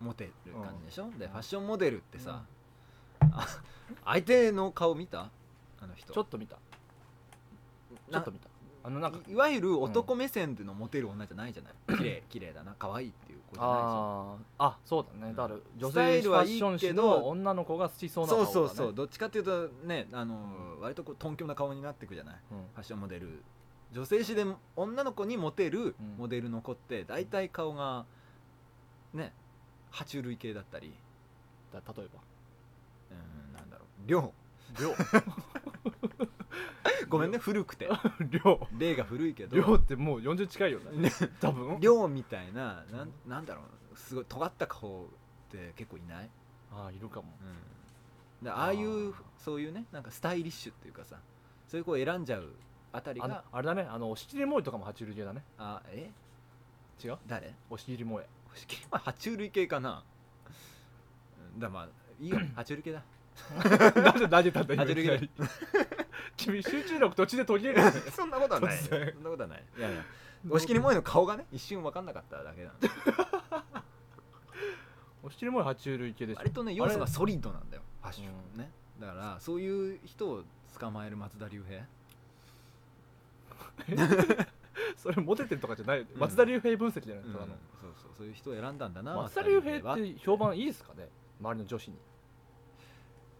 Speaker 1: モテる感じでしょ、でファッションモデルってさ、あ相手の顔見たあの人
Speaker 2: ちょっと見たちょ
Speaker 1: な
Speaker 2: っと見たあのなんか
Speaker 1: いいわゆる男目線でのモテる女じゃないじゃな い綺麗綺麗だな可愛いっていう子じゃないじゃん
Speaker 2: あーあそうだねだから女
Speaker 1: スタ
Speaker 2: 性
Speaker 1: イ
Speaker 2: フ
Speaker 1: ル
Speaker 2: ァ
Speaker 1: は
Speaker 2: ッ
Speaker 1: いい
Speaker 2: ション
Speaker 1: け
Speaker 2: 誌
Speaker 1: ど
Speaker 2: の女の子が好きそうな顔
Speaker 1: そ
Speaker 2: だ
Speaker 1: う
Speaker 2: ね
Speaker 1: そうそう、どっちかっていうとねあのー、割とこうトンキョな顔になってくじゃない
Speaker 2: うん
Speaker 1: ファッションモデル女性誌で女の子にモテる
Speaker 2: うん
Speaker 1: モデルの子って大体顔がね爬虫類系だったり
Speaker 2: だ例えば
Speaker 1: うんなんだろう量
Speaker 2: 量
Speaker 1: ごめんね古く て
Speaker 2: 量
Speaker 1: 例が古いけど
Speaker 2: 量ってもう40近いよね
Speaker 1: ね
Speaker 2: 多分
Speaker 1: 量みたいななんなんだろうすごい尖った顔って結構いない、
Speaker 2: ああいるかも
Speaker 1: うん、でああい
Speaker 2: あ
Speaker 1: う
Speaker 2: ー
Speaker 1: そういうねなんかスタイリッシュっていうかさそういう子を選んじゃうあたり
Speaker 2: あの
Speaker 1: が
Speaker 2: あれだねあの押し切り萌えとかも爬虫類系だね
Speaker 1: あえ
Speaker 2: 違う
Speaker 1: 誰
Speaker 2: 押し切り 萌え
Speaker 1: 星系は爬虫類系かなうんだまあいいよ爬虫類系だ
Speaker 2: なぜ投げたんだ今
Speaker 1: 投げるぐらい
Speaker 2: いきなり 君集中力途中で途切れるよね
Speaker 1: そんなことはないよ
Speaker 2: 突然
Speaker 1: そんなことはないい やいや 押切萌えの顔がね一瞬分かんなかっただけなの
Speaker 2: 押し切りも爬虫類系でしょ
Speaker 1: 割とね要素がソリッドなんだよファッションね、だからそういう人を捕まえる松田龍平
Speaker 2: それモテてるとかじゃない、
Speaker 1: ん
Speaker 2: 松田龍平分析じゃない、
Speaker 1: うん
Speaker 2: ただの
Speaker 1: そうそうそういう人を選んだんだな
Speaker 2: 松田龍平
Speaker 1: は
Speaker 2: って評判いいですかね周りの女子に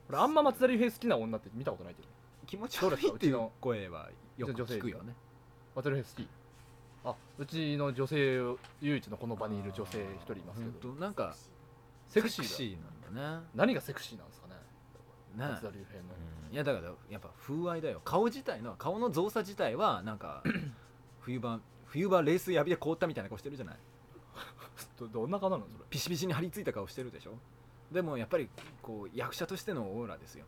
Speaker 2: 俺あんま松田龍平好きな女って見たことないけど
Speaker 1: 気持ち悪いっていう声はよく聞くよね
Speaker 2: 松田龍平好きあうちの女性唯一のこの場にいる女性一人いますけど
Speaker 1: ほんとなんか
Speaker 2: セク
Speaker 1: セク
Speaker 2: シ
Speaker 1: シ
Speaker 2: ーだ
Speaker 1: ーなん
Speaker 2: 何がセクシーなんですかね
Speaker 1: だねね
Speaker 2: 松田龍平の、
Speaker 1: うんいやだからやっぱ風合いだよ顔自体の顔の造作自体はな んか冬場冬場冷水浴びで凍ったみたいな顔してるじゃない
Speaker 2: どどんな顔なのそれ
Speaker 1: ピシピシに張り付いた顔してるでしょでもやっぱりこう役者としてのオーラですよ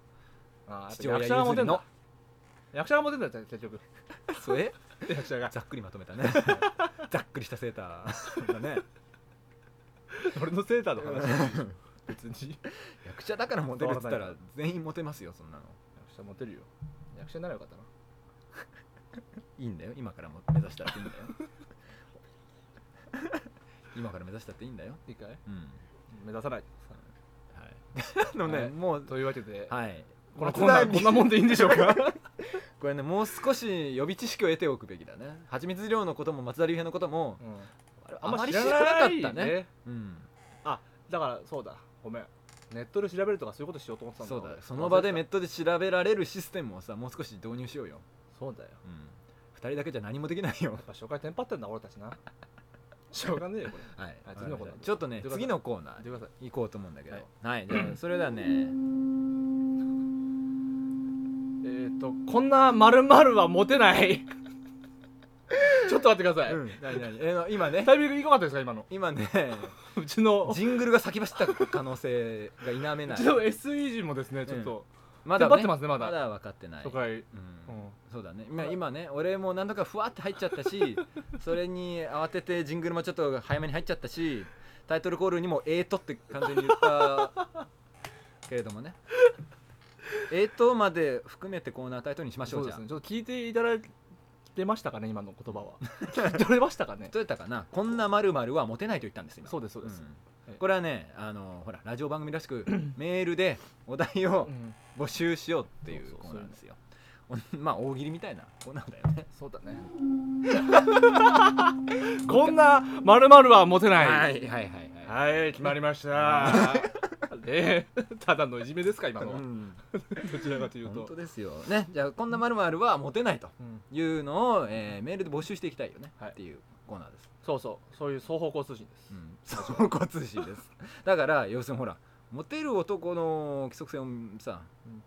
Speaker 2: あー
Speaker 1: 父
Speaker 2: やっぱ役
Speaker 1: 親
Speaker 2: 者がモテん
Speaker 1: 譲
Speaker 2: の役者がモテんだよ結局
Speaker 1: それ
Speaker 2: 役者が
Speaker 1: ざっくりまとめたね ざっくりしたセーターだね
Speaker 2: 俺のセーターの話 別に
Speaker 1: 役者だからモテるっつったら全員モテますよそんなの
Speaker 2: 役者モテるよ役者にならよかったない
Speaker 1: いんだよ今からも目指したっていいんだよ 今から目指したっていいんだよ
Speaker 2: いいかい
Speaker 1: うん
Speaker 2: 目指さない
Speaker 1: はい あのね、
Speaker 2: はい
Speaker 1: もう
Speaker 2: というわけで、
Speaker 1: はい
Speaker 2: このコー
Speaker 1: 松
Speaker 2: ナ
Speaker 1: 田
Speaker 2: ーこんなもんでいいんでしょう か
Speaker 1: これねもう少し予備知識を得ておくべきだね蜂蜜量のことも松田龍平のこともあまり知らなかったねうん
Speaker 2: だからそうだごめんネットで調べるとかそういうことしようと思ってたんだ
Speaker 1: そうだその場でネッ
Speaker 2: め
Speaker 1: トで調べられるシステムをさもう少し導入しようよ、
Speaker 2: そうだよ
Speaker 1: うん、2人だけじゃ何もできないよ
Speaker 2: やっぱ紹介テンパってんだ俺たちな しょうがねえよこれ
Speaker 1: はい
Speaker 2: はい次のコーナー
Speaker 1: ちょっとね
Speaker 2: ということで
Speaker 1: 次のコーナ
Speaker 2: 見て
Speaker 1: ー
Speaker 2: ください
Speaker 1: 行こうと思うんだけど
Speaker 2: はい
Speaker 1: はい、じゃあそれではね
Speaker 2: えっ、ー、とこんなまるまるはモテない ちょっと待ってください、
Speaker 1: うん何何えーの今ね
Speaker 2: タイミングいかがだったですか今の
Speaker 1: 今ね
Speaker 2: うちの
Speaker 1: ジングルが先走った可能性が否め
Speaker 2: う
Speaker 1: ない
Speaker 2: ちの SE 陣もですねちょっと
Speaker 1: まだ、ね、
Speaker 2: 頑張ってますねまだ
Speaker 1: まだ分かってない
Speaker 2: 紹介、
Speaker 1: うん
Speaker 2: うん
Speaker 1: そうだね今今ね俺も何とかふわって入っちゃった しそれに慌ててジングルもちょっと早めに入っちゃったしタイトルコールにも「えーと」って完全に言った けれどもね「えーと」まで含めてコーナータイトルにしましょ
Speaker 2: そう
Speaker 1: う
Speaker 2: で
Speaker 1: じゃ
Speaker 2: す
Speaker 1: あ、
Speaker 2: ねちょっと聞いていただいてましたかね今の言葉は 聞き取れましたかね
Speaker 1: どうやったかなこんなまるはモテないと言ったんです今
Speaker 2: そうですそうです
Speaker 1: ん
Speaker 2: はい
Speaker 1: これはねあのほらラジオ番組ら しくメールでお題を
Speaker 2: うん
Speaker 1: 募集しようってい
Speaker 2: そ
Speaker 1: う
Speaker 2: うそう
Speaker 1: コ
Speaker 2: そう
Speaker 1: ーナーですよおまあ大喜利みたいなコーナーだよね
Speaker 2: そうだねこんなまるまるはモテない
Speaker 1: いはいはいい
Speaker 2: はい決まりましたでただのいじめですか今の
Speaker 1: う
Speaker 2: は
Speaker 1: ん
Speaker 2: どちらかという
Speaker 1: 本
Speaker 2: と
Speaker 1: 当ですよねじゃあこんなまるはモテないと
Speaker 2: うん
Speaker 1: いうのを、えーメールで募集していきたいよね、
Speaker 2: はい
Speaker 1: っていうコーナーです、
Speaker 2: そうそうそういう双方向通信です
Speaker 1: うん、そう骨通信ですだから要するにほらモテる男の規則性をさ、
Speaker 2: うん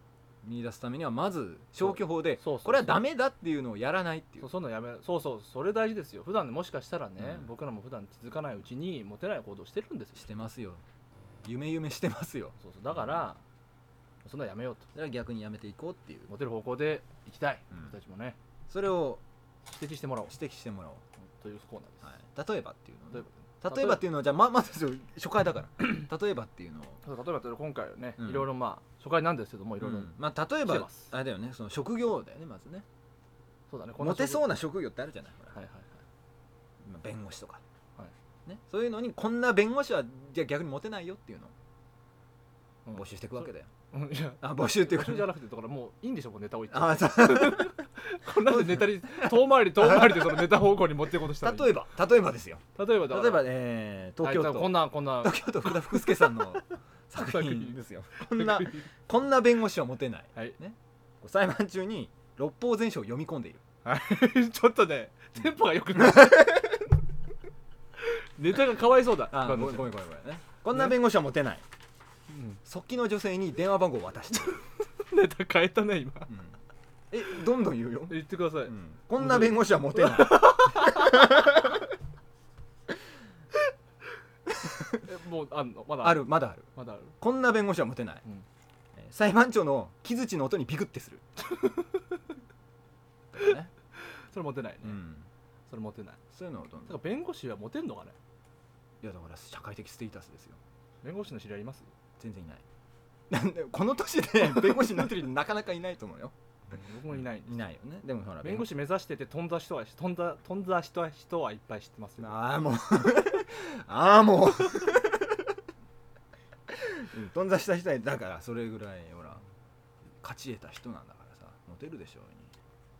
Speaker 1: 見出すためにはまず消去法で
Speaker 2: そうそうそうそう
Speaker 1: これはダメだっていうのをやらないってい
Speaker 2: そ
Speaker 1: う
Speaker 2: うそういうのやめそうそうそれ大事ですよ普段ねもしかしたらね、
Speaker 1: うん
Speaker 2: 僕らも普段気づかないうちにモテない行動してるんですよ
Speaker 1: してますよ夢夢してますよ
Speaker 2: そうそうだからそんなのやめようと
Speaker 1: だから逆にやめていこうっていう
Speaker 2: モテる方向で行きたい、
Speaker 1: うん
Speaker 2: 僕たちもね
Speaker 1: それを
Speaker 2: 指摘してもらおう
Speaker 1: 指摘してもらおう、
Speaker 2: というコーナーです、
Speaker 1: はい、例えばっていうのをね
Speaker 2: 例えば
Speaker 1: 例えばっていうのはじゃあままず初回だから 例えばっていうのを
Speaker 2: そう例えばというと今回はね、
Speaker 1: うん
Speaker 2: いろいろまあ初回なんですけどもいろいろ、
Speaker 1: うんまあ、例え
Speaker 2: して
Speaker 1: ば
Speaker 2: ます
Speaker 1: あれだよねその職業だよねまずね
Speaker 2: そうだねこん
Speaker 1: モテそう
Speaker 2: な
Speaker 1: な職業ってあるじゃないほら
Speaker 2: 職業はいはい
Speaker 1: まあ弁護士とか、
Speaker 2: は
Speaker 1: ね、そういうのにこんな弁護士はじゃあ逆にモテないよっていうの
Speaker 2: はい、
Speaker 1: を募集していくわけだよ、
Speaker 2: うんいや
Speaker 1: あ募集っていう
Speaker 2: 募
Speaker 1: か
Speaker 2: 集じゃなくてだからもういいんでしょもうネタ置いて
Speaker 1: あ そう
Speaker 2: こんなんでネタに遠回り遠回りでそのネタ方向に持っていこうとしたらいい
Speaker 1: 例えば例えばですよ
Speaker 2: 例えばだから
Speaker 1: 例えば、えー東京
Speaker 2: はいこん
Speaker 1: 都
Speaker 2: なこんな
Speaker 1: 東京都福田福助さんの作
Speaker 2: 作
Speaker 1: 品
Speaker 2: 品
Speaker 1: ですよこんなこんな弁護士はモテない
Speaker 2: はい
Speaker 1: 裁判中に六法全書を読み込んでい る
Speaker 2: ちょっとねテンポが良くない ネタがかわいそうだ
Speaker 1: あ
Speaker 2: 今の
Speaker 1: ごめんごめんごめんごめんねこんな弁護士はモテない、
Speaker 2: うん
Speaker 1: 側近の女性に電話番号を渡した、
Speaker 2: ネタ変えたね今
Speaker 1: うんえどんどん言うよ
Speaker 2: 言ってください、
Speaker 1: こんな弁護士はモテない
Speaker 2: えもうあんのまだ
Speaker 1: あるまだある
Speaker 2: まだある
Speaker 1: こんな弁護士はモテない、
Speaker 2: うん
Speaker 1: えー裁判長の木槌の音にピクっ てする、だからね
Speaker 2: それモテないね、
Speaker 1: うん、
Speaker 2: それモテない
Speaker 1: そういうのをどん
Speaker 2: だか
Speaker 1: どん
Speaker 2: ら弁護士はモテんのかね
Speaker 1: いやだから社会的ステータスですよ
Speaker 2: 弁護士の知り合いいます
Speaker 1: 全然いないなんでこの年 で弁護士になってる人なかなかいないと思うよ
Speaker 2: 僕もいない
Speaker 1: いないよねでもほら
Speaker 2: 弁護
Speaker 1: 士
Speaker 2: 士目指してて飛んだ人は飛んだ飛んだ人は人はいっぱい知ってますよ
Speaker 1: ああもう ああもう うん頓挫した人はだからそれぐらいほら勝ち得た人なんだからさモテるでしょうにっ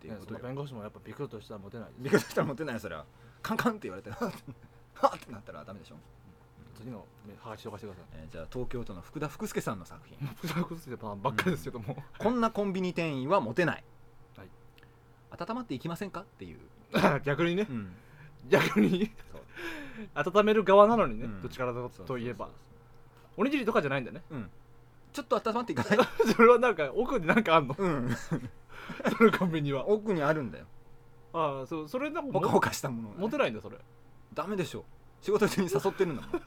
Speaker 1: ていう
Speaker 2: ね
Speaker 1: こ
Speaker 2: そ
Speaker 1: と
Speaker 2: の
Speaker 1: よ
Speaker 2: 弁護士もやっぱビクッとしたらモテないです
Speaker 1: びっくりしたらモテないよそれはカンカンって言われてはっってなったらダメでしょ、
Speaker 2: 次のハガキ紹介してください
Speaker 1: えーじゃあ東京都の福田福助さんの作品
Speaker 2: プラクスでばっかりですけども、
Speaker 1: こんなコンビニ店員はモテない、
Speaker 2: はい
Speaker 1: 温まっていきませんかっていう、
Speaker 2: 逆にね
Speaker 1: うん
Speaker 2: 逆に
Speaker 1: そ う
Speaker 2: 温める側なのにね、
Speaker 1: うん
Speaker 2: どっちからだといえば
Speaker 1: そうそう
Speaker 2: おにぎりとかじゃないんだね
Speaker 1: そううんちょっと温まっていかない
Speaker 2: それはなんか奥になんかあんの
Speaker 1: う ん
Speaker 2: そのコンビニは
Speaker 1: 奥にあるんだよ
Speaker 2: ああそうそれなんか
Speaker 1: ほ
Speaker 2: も
Speaker 1: かほかしたものがね、
Speaker 2: モテないんだそれ
Speaker 1: ダメでしょ仕事中に誘ってるんだもん、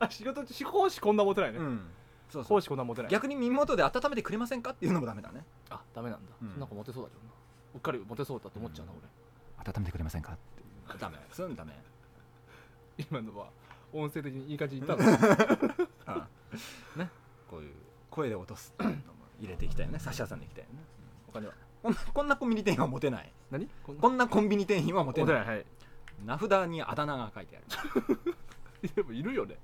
Speaker 2: あ仕事中講師こんなモテないね、
Speaker 1: うん、そうそ
Speaker 2: 講
Speaker 1: う
Speaker 2: 師こんなモテない
Speaker 1: 逆に耳元で温めてくれませんかっていうのもダメだね
Speaker 2: あダメなんだ、
Speaker 1: うん
Speaker 2: なんかモテそうだけどなうっかりモテそうだと思っちゃうな、
Speaker 1: うん
Speaker 2: 俺
Speaker 1: 温めてくれませんかっていうダメそういうのダメ
Speaker 2: 今のは音声的にいい感じに言ったの
Speaker 1: ああねこういう声で落とすっていうのも入れていきたいよね差し挟んでいきたいよね
Speaker 2: 他には
Speaker 1: こんなこんなコンビニ店員はモテない
Speaker 2: 何こんな
Speaker 1: こんなコンビニ店員はモテ
Speaker 2: モテ
Speaker 1: ない
Speaker 2: ないはい
Speaker 1: 名札にあだ名が書いてある
Speaker 2: で もいるよね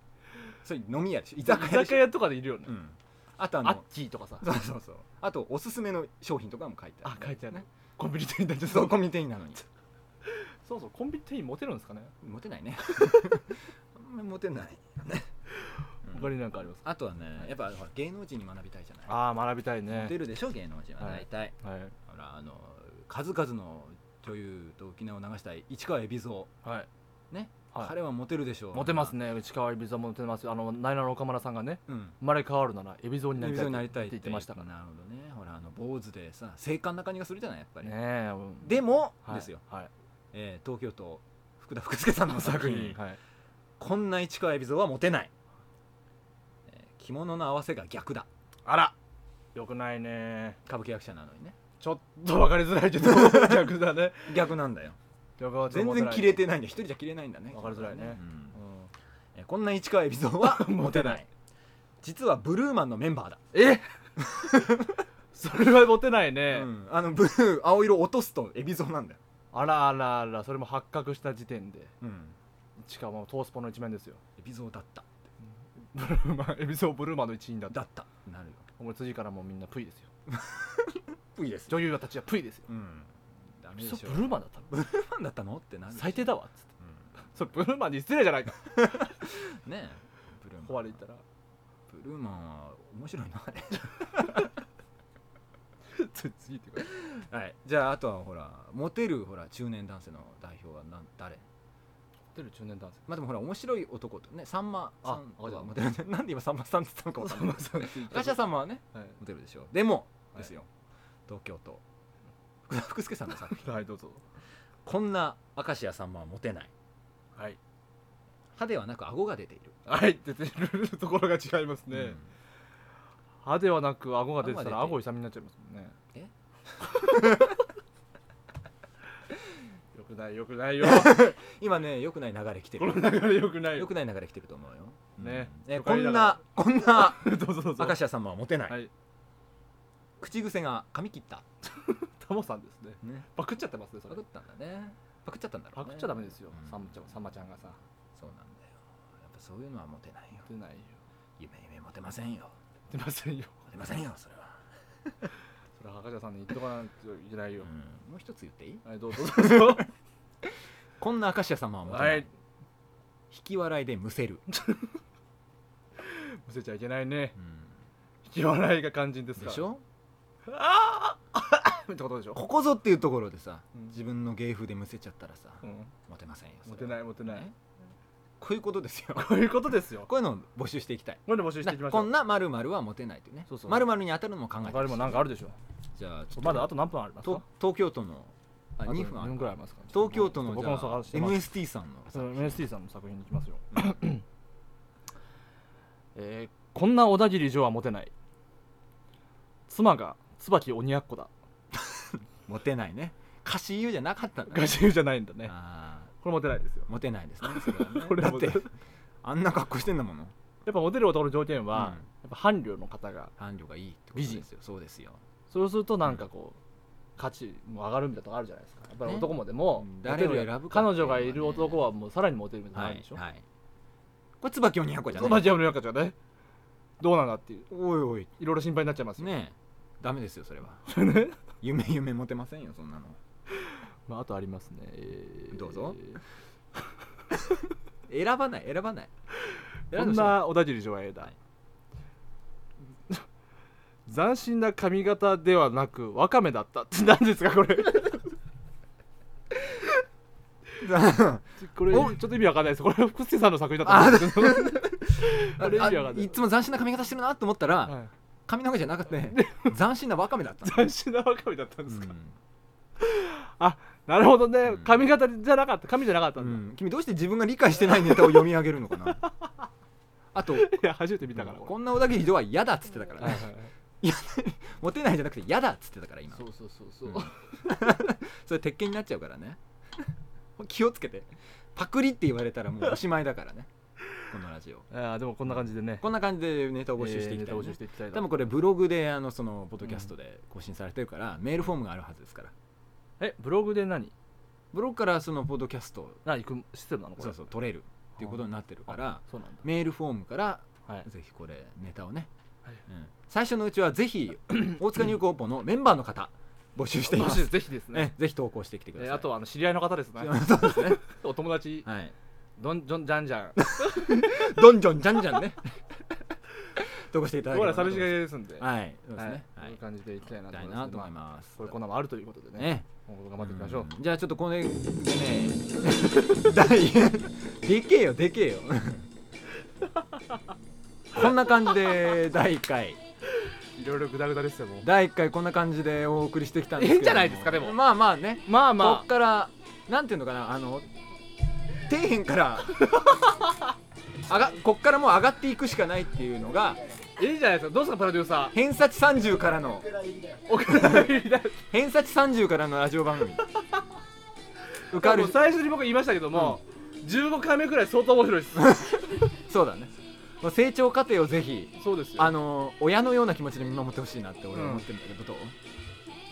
Speaker 1: それ飲み屋でしょ居酒屋でしょ
Speaker 2: とかでいるよね、
Speaker 1: うん、あとあ
Speaker 2: アッ
Speaker 1: の
Speaker 2: キーとかさ
Speaker 1: そうそうそうあとおすすめの商品とかも書いてある
Speaker 2: あ書いてある
Speaker 1: ね
Speaker 2: コンビニ店員だけど
Speaker 1: そうコンビニ店員なのに
Speaker 2: そうそうコンビニ店員モテるんですかね
Speaker 1: モテ ないねあんまりモテない、ねうん
Speaker 2: 他になんかあります
Speaker 1: あとはねやっぱほら芸能人に学びたいじゃない
Speaker 2: ああ学びたい
Speaker 1: モ
Speaker 2: ね
Speaker 1: テるでしょ芸能人は
Speaker 2: はい
Speaker 1: 大体、
Speaker 2: はい
Speaker 1: ほらあの数々の女優と沖縄を流したい市川海老蔵、
Speaker 2: はい
Speaker 1: ね
Speaker 2: はい
Speaker 1: 彼はモテるでしょう
Speaker 2: モテますね内川海老蔵もモテますよあのナイナの岡村さんがね
Speaker 1: うん
Speaker 2: 生まれ変わるなら海老蔵にな
Speaker 1: 海
Speaker 2: りたい
Speaker 1: 老蔵になりた
Speaker 2: っ
Speaker 1: い
Speaker 2: て言ってましたからね
Speaker 1: なるほどねほらあの坊主でさ精悍な感じがするじゃないやっぱり、
Speaker 2: え
Speaker 1: でも、
Speaker 2: はい
Speaker 1: ですよ、
Speaker 2: はい
Speaker 1: えー東京都福田福助さんの作品、
Speaker 2: はい
Speaker 1: こんな市川海老蔵はモテない、えー着物の合わせが逆だ
Speaker 2: あらよくないね
Speaker 1: 歌舞伎役者なのにね
Speaker 2: ちょっと分かりづらいけ ど逆だね
Speaker 1: 逆な んだよ全然切
Speaker 2: 綺
Speaker 1: れ
Speaker 2: 麗
Speaker 1: てないんだよ一人じゃ切れないんだね
Speaker 2: わかりづらいね
Speaker 1: うんえーこんな市川海老蔵は モテない実はブルーマンのメンバーだ、
Speaker 2: えそれはモテないうね、
Speaker 1: ん、あのブルー青色落とすと海老蔵なんだよ、
Speaker 2: あらあらあらそれも発覚した時点で
Speaker 1: うん、
Speaker 2: しかもトースポの一面ですよ
Speaker 1: 海老蔵だった
Speaker 2: ブルーマンエ ビソーブルーマンの一員だった
Speaker 1: だったなるよ
Speaker 2: もう次からもうみんなプイですよ
Speaker 1: いいです
Speaker 2: 女優たちはプイですよ
Speaker 1: うんダメ
Speaker 2: エビ
Speaker 1: で
Speaker 2: ソ
Speaker 1: し
Speaker 2: ー
Speaker 1: ょ
Speaker 2: ブルーマンだったの
Speaker 1: ブルーマンだったのってなる
Speaker 2: 最低だわっつって
Speaker 1: う
Speaker 2: それブルーマンに失礼じゃないか
Speaker 1: んねえブルーマ
Speaker 2: 壊
Speaker 1: ン
Speaker 2: れ言った ら
Speaker 1: ブルーマンは面白いなあれ
Speaker 2: 次って こと
Speaker 1: はいじゃああとはほらモテるほら中年男性の代表はなん誰
Speaker 2: ホテル中年男性
Speaker 1: まあでもほら面白い男とねさんまさん
Speaker 2: あわかっ
Speaker 1: は
Speaker 2: た
Speaker 1: モテる なんで今さんまさんって言ったのかわかんない
Speaker 2: さんって言った
Speaker 1: ガシャさんはね
Speaker 2: は
Speaker 1: モテるでしょうでも
Speaker 2: はい
Speaker 1: ですよ、東京都福田福助さんの作品
Speaker 2: いはいどうぞ
Speaker 1: こんな明石家さんまはモテない
Speaker 2: はい
Speaker 1: 歯ではなく顎が出ている
Speaker 2: はい出てるところが違いますね、
Speaker 1: うん
Speaker 2: 歯ではなく顎が出てたら
Speaker 1: 顎
Speaker 2: 顎
Speaker 1: が
Speaker 2: 勇みになっちゃいますもんね
Speaker 1: え
Speaker 2: よくないよくないよ
Speaker 1: 今ねよくない流れ来て
Speaker 2: こ
Speaker 1: る
Speaker 2: の流れよくない
Speaker 1: よ
Speaker 2: よ
Speaker 1: くない流れ来てると思うよ、
Speaker 2: ね
Speaker 1: うんえ
Speaker 2: 都
Speaker 1: こ
Speaker 2: 会だ
Speaker 1: ん
Speaker 2: か
Speaker 1: なこんな
Speaker 2: どうぞどうぞ
Speaker 1: 明石家さんまはモテない、
Speaker 2: はい
Speaker 1: 口癖が噛み切った
Speaker 2: タモさんですね
Speaker 1: ね
Speaker 2: パクっちゃってますねそ
Speaker 1: パ
Speaker 2: れ
Speaker 1: クったんだねパクっちゃったんだろ
Speaker 2: パ
Speaker 1: う、ね、
Speaker 2: クっちゃダメですよ、
Speaker 1: うん
Speaker 2: サムちゃんサンマちゃんがさ
Speaker 1: そうなんだよやっぱそういうのはモテないよ
Speaker 2: 出ないよ
Speaker 1: 夢夢モテませんよ
Speaker 2: 出ませんよ
Speaker 1: モテませんよそれは、
Speaker 2: それは博士さんに言っとかないといけないよ
Speaker 1: う、んもう一つ言っていい
Speaker 2: はいどうぞどうぞ
Speaker 1: こんな明石家さんまはモテない、
Speaker 2: はい
Speaker 1: 引き笑いでむせる、
Speaker 2: むせちゃいけないね
Speaker 1: うん
Speaker 2: 引き笑いが肝心ですから
Speaker 1: でしょ
Speaker 2: あーってことでしょ
Speaker 1: ここぞっていうところでさ、
Speaker 2: うん
Speaker 1: 自分の芸風でむせちゃったらさ、
Speaker 2: うん
Speaker 1: モテませんよ
Speaker 2: モテないいモテない
Speaker 1: こういうことですよ
Speaker 2: こういうことですよ
Speaker 1: こういうのを募集していきたい
Speaker 2: これで募集していきましょ
Speaker 1: こ
Speaker 2: うん
Speaker 1: な〇〇はモテないというね
Speaker 2: そうそう
Speaker 1: 〇〇に当たるのも考えて
Speaker 2: 他にもなんかあるでしょ
Speaker 1: じゃあちょっと
Speaker 2: まだあと何分ありますか
Speaker 1: と東京都のあ
Speaker 2: あと
Speaker 1: 2分あ
Speaker 2: 二
Speaker 1: る
Speaker 2: 分ぐらいありますか
Speaker 1: 東京都の
Speaker 2: 僕
Speaker 1: じゃ
Speaker 2: も
Speaker 1: あ
Speaker 2: 探してます
Speaker 1: MST さんの
Speaker 2: その MST さんの作品に行きますよ
Speaker 1: うん
Speaker 2: えーこんな小田切女はモテない妻が椿鬼奴だ
Speaker 1: モテないね歌詞言うじゃなかったんだね
Speaker 2: ガシじゃないんだね
Speaker 1: あ
Speaker 2: これモテないですよ
Speaker 1: ーモテないですねそれはね
Speaker 2: これ
Speaker 1: だ
Speaker 2: は
Speaker 1: っ
Speaker 2: モテ
Speaker 1: てあんな格好してんだもの
Speaker 2: いやっぱモテる男の条件は、
Speaker 1: うん
Speaker 2: やっぱ伴侶の方が
Speaker 1: 伴侶がいいってこと
Speaker 2: 美
Speaker 1: で
Speaker 2: 人
Speaker 1: すよそうですよ
Speaker 2: そうするとなんかこう価値も上がるみたいなとこあるじゃないですかやっぱり
Speaker 1: ね
Speaker 2: 男もでも、
Speaker 1: うん
Speaker 2: モテる
Speaker 1: 誰を選ぶか
Speaker 2: 彼
Speaker 1: っていうのは
Speaker 2: 女が
Speaker 1: ね
Speaker 2: いる男はもうさらにモテるみたいなのあ
Speaker 1: は
Speaker 2: る
Speaker 1: い
Speaker 2: でしょ、
Speaker 1: はいこれ椿鬼奴じゃ
Speaker 2: マ
Speaker 1: ない
Speaker 2: ジやめようかじゃねどうなんだっていう
Speaker 1: おいおい
Speaker 2: いろいろ心配になっちゃいますよ、
Speaker 1: ねえダメですよ それは
Speaker 2: ね
Speaker 1: 夢夢持てませんよそんなの
Speaker 2: まあ、あとありますね、えー
Speaker 1: どうぞ選ばない選ばない
Speaker 2: こんな小田尻上映だ、
Speaker 1: はい
Speaker 2: 斬新な髪型ではなくワカメだったって何ですかこ れ これちょ
Speaker 1: お
Speaker 2: っと意味わかんないですこれ福助さんの作品だったんですけど
Speaker 1: あ
Speaker 2: これ意味わか
Speaker 1: あ
Speaker 2: んない
Speaker 1: いつも斬新な髪型してるなと思ったら、
Speaker 2: はい
Speaker 1: 髪の毛じゃな くて斬新なワカメだったの
Speaker 2: 斬新なワカメだったんですか、
Speaker 1: うん
Speaker 2: なるほどね
Speaker 1: うん
Speaker 2: 髪型じゃなかった髪じゃなかった
Speaker 1: うん
Speaker 2: だ、
Speaker 1: ん君どうして自分が理解してないネタを読み上げるのかな あ と
Speaker 2: いや初めて見たから、こ
Speaker 1: こんな小田切女は嫌だっつってたか
Speaker 2: れ
Speaker 1: ら
Speaker 2: はい
Speaker 1: ね
Speaker 2: はい はい
Speaker 1: モテないじゃなくて嫌だっつってたから今
Speaker 2: そうそうそうそう、
Speaker 1: うん それ鉄拳になっちゃうからね気をつけてパクリって言われたらもうおしまいだからねこのラジオ
Speaker 2: あーでもこんな感じでね
Speaker 1: こんな感じでネタを募集していきた
Speaker 2: え
Speaker 1: い、
Speaker 2: ーネタ
Speaker 1: ね
Speaker 2: 募集していきたいな
Speaker 1: 多分これブログであのそのポッドキャストで更新されてるから、メールフォームがあるはずですから
Speaker 2: えブログで何
Speaker 1: ブログからそのポッドキャスト
Speaker 2: 何行くシステムなのこれ
Speaker 1: そうそう取れるっていうことになってるから
Speaker 2: そうなんだ
Speaker 1: メールフォームから
Speaker 2: はい
Speaker 1: ぜひこれネタをね、
Speaker 2: はい
Speaker 1: うん最初のうちはぜひ大塚入高校のメンバーの方募集していま す、
Speaker 2: ぜひですね
Speaker 1: ね、ぜひ投稿してきてください、
Speaker 2: えあとはあの知り合いの方ですね
Speaker 1: そうですね、
Speaker 2: お友達
Speaker 1: はい、
Speaker 2: どんどんじゃんじゃん
Speaker 1: どんじょんじゃんじゃんね 投稿していただけ
Speaker 2: 僕
Speaker 1: れ
Speaker 2: ら
Speaker 1: ば
Speaker 2: 寂
Speaker 1: なと思
Speaker 2: し
Speaker 1: い
Speaker 2: が
Speaker 1: ます
Speaker 2: りですんでい
Speaker 1: はいそうですね、
Speaker 2: こ
Speaker 1: は
Speaker 2: う
Speaker 1: い
Speaker 2: いう感じでいきたい
Speaker 1: み
Speaker 2: な
Speaker 1: たい
Speaker 2: 思
Speaker 1: なと思
Speaker 2: い
Speaker 1: い
Speaker 2: ます
Speaker 1: ます
Speaker 2: これこんなのもあるということでね
Speaker 1: ね
Speaker 2: 今後頑張っていきましょう
Speaker 1: うんじゃあちょっとこれでね 第でけえよでけえよ こんな感じで第1回
Speaker 2: いろいろグダグダですよもう
Speaker 1: 第1回こんな感じでお送りしてきたんですけ
Speaker 2: い
Speaker 1: ど
Speaker 2: いんじゃないですかでも
Speaker 1: まあまあね
Speaker 2: まあ
Speaker 1: こ
Speaker 2: ま
Speaker 1: っからなんていうのかなあの底辺から 上がこっからもう上がっていくしかないっていうのが
Speaker 2: あいいじゃないですかどうですかプロデュー サ
Speaker 1: 偏差値30からの
Speaker 2: ーお蔵入りだ
Speaker 1: 偏差値30からのラジオ番組受か
Speaker 2: 多
Speaker 1: る
Speaker 2: 分最初に僕言いましたけども15回目くらい相当面白いです
Speaker 1: そうだねもう成長過程をぜひ
Speaker 2: そうですよ
Speaker 1: あの親のような気持ちで見守ってほしいなって俺は思ってるんだけど、どう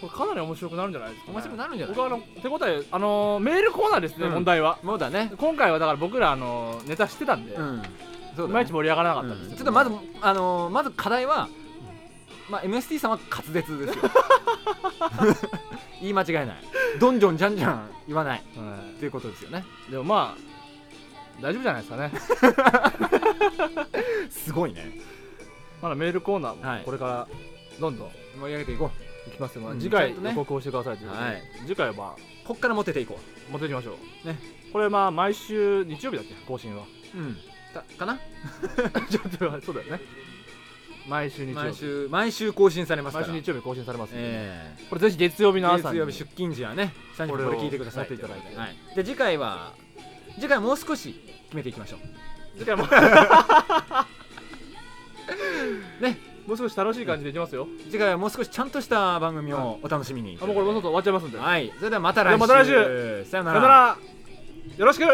Speaker 2: これかなり面白くなるんじゃないですかね
Speaker 1: 面白くなるんじゃない
Speaker 2: 僕はあの手応えあのーメールコーナーですね、
Speaker 1: うん
Speaker 2: 問題は
Speaker 1: もうだね
Speaker 2: 今回はだから僕らあのネタ知ってたんで、
Speaker 1: うんそうだね
Speaker 2: いまいち盛り上がらなかったんです
Speaker 1: ち
Speaker 2: け
Speaker 1: ょっ
Speaker 2: ど、
Speaker 1: とまず、あのーまず課題は、まあ、MST さんは滑舌 ですよ言い間違えないどんじょんじゃんじゃん言わない
Speaker 2: は
Speaker 1: っていうことですよね
Speaker 2: いでもまあ大丈夫じゃないですか ね
Speaker 1: すごいね
Speaker 2: まだメールコーナー
Speaker 1: は
Speaker 2: も
Speaker 1: い
Speaker 2: これからどんどん
Speaker 1: 盛り上げていこ
Speaker 2: いきますので、
Speaker 1: うん
Speaker 2: 次回
Speaker 1: ちゃんとね
Speaker 2: 予告をしてくださいということで、
Speaker 1: はい
Speaker 2: 次回はまあ
Speaker 1: うこっからモテていこ
Speaker 2: 持っていきましょう
Speaker 1: ね
Speaker 2: これまあ毎週日曜日だっけ更 新は
Speaker 1: ううんかかな
Speaker 2: ちょっとそうだよね毎週日曜
Speaker 1: 毎
Speaker 2: 日
Speaker 1: 週毎週更新されますか
Speaker 2: 毎
Speaker 1: ら
Speaker 2: 週日曜日更新されますんでね、
Speaker 1: ええ
Speaker 2: これぜひ月曜日の朝
Speaker 1: 月
Speaker 2: に
Speaker 1: 曜日出勤時はね3時
Speaker 2: これ
Speaker 1: これ
Speaker 2: を
Speaker 1: 聞いてください
Speaker 2: やっていただいて
Speaker 1: はい、で次回は次回もう少し決めていきましょ
Speaker 2: 次回も
Speaker 1: ね
Speaker 2: もう少し楽しい感じでいきますよ、
Speaker 1: う次回はもう少しちゃんとした番組をお楽しみに
Speaker 2: あもうこれもうちょっと終わっちゃいますんで、
Speaker 1: はいそれではまた来
Speaker 2: では
Speaker 1: 週
Speaker 2: また来週
Speaker 1: さよな
Speaker 2: さよならよろしく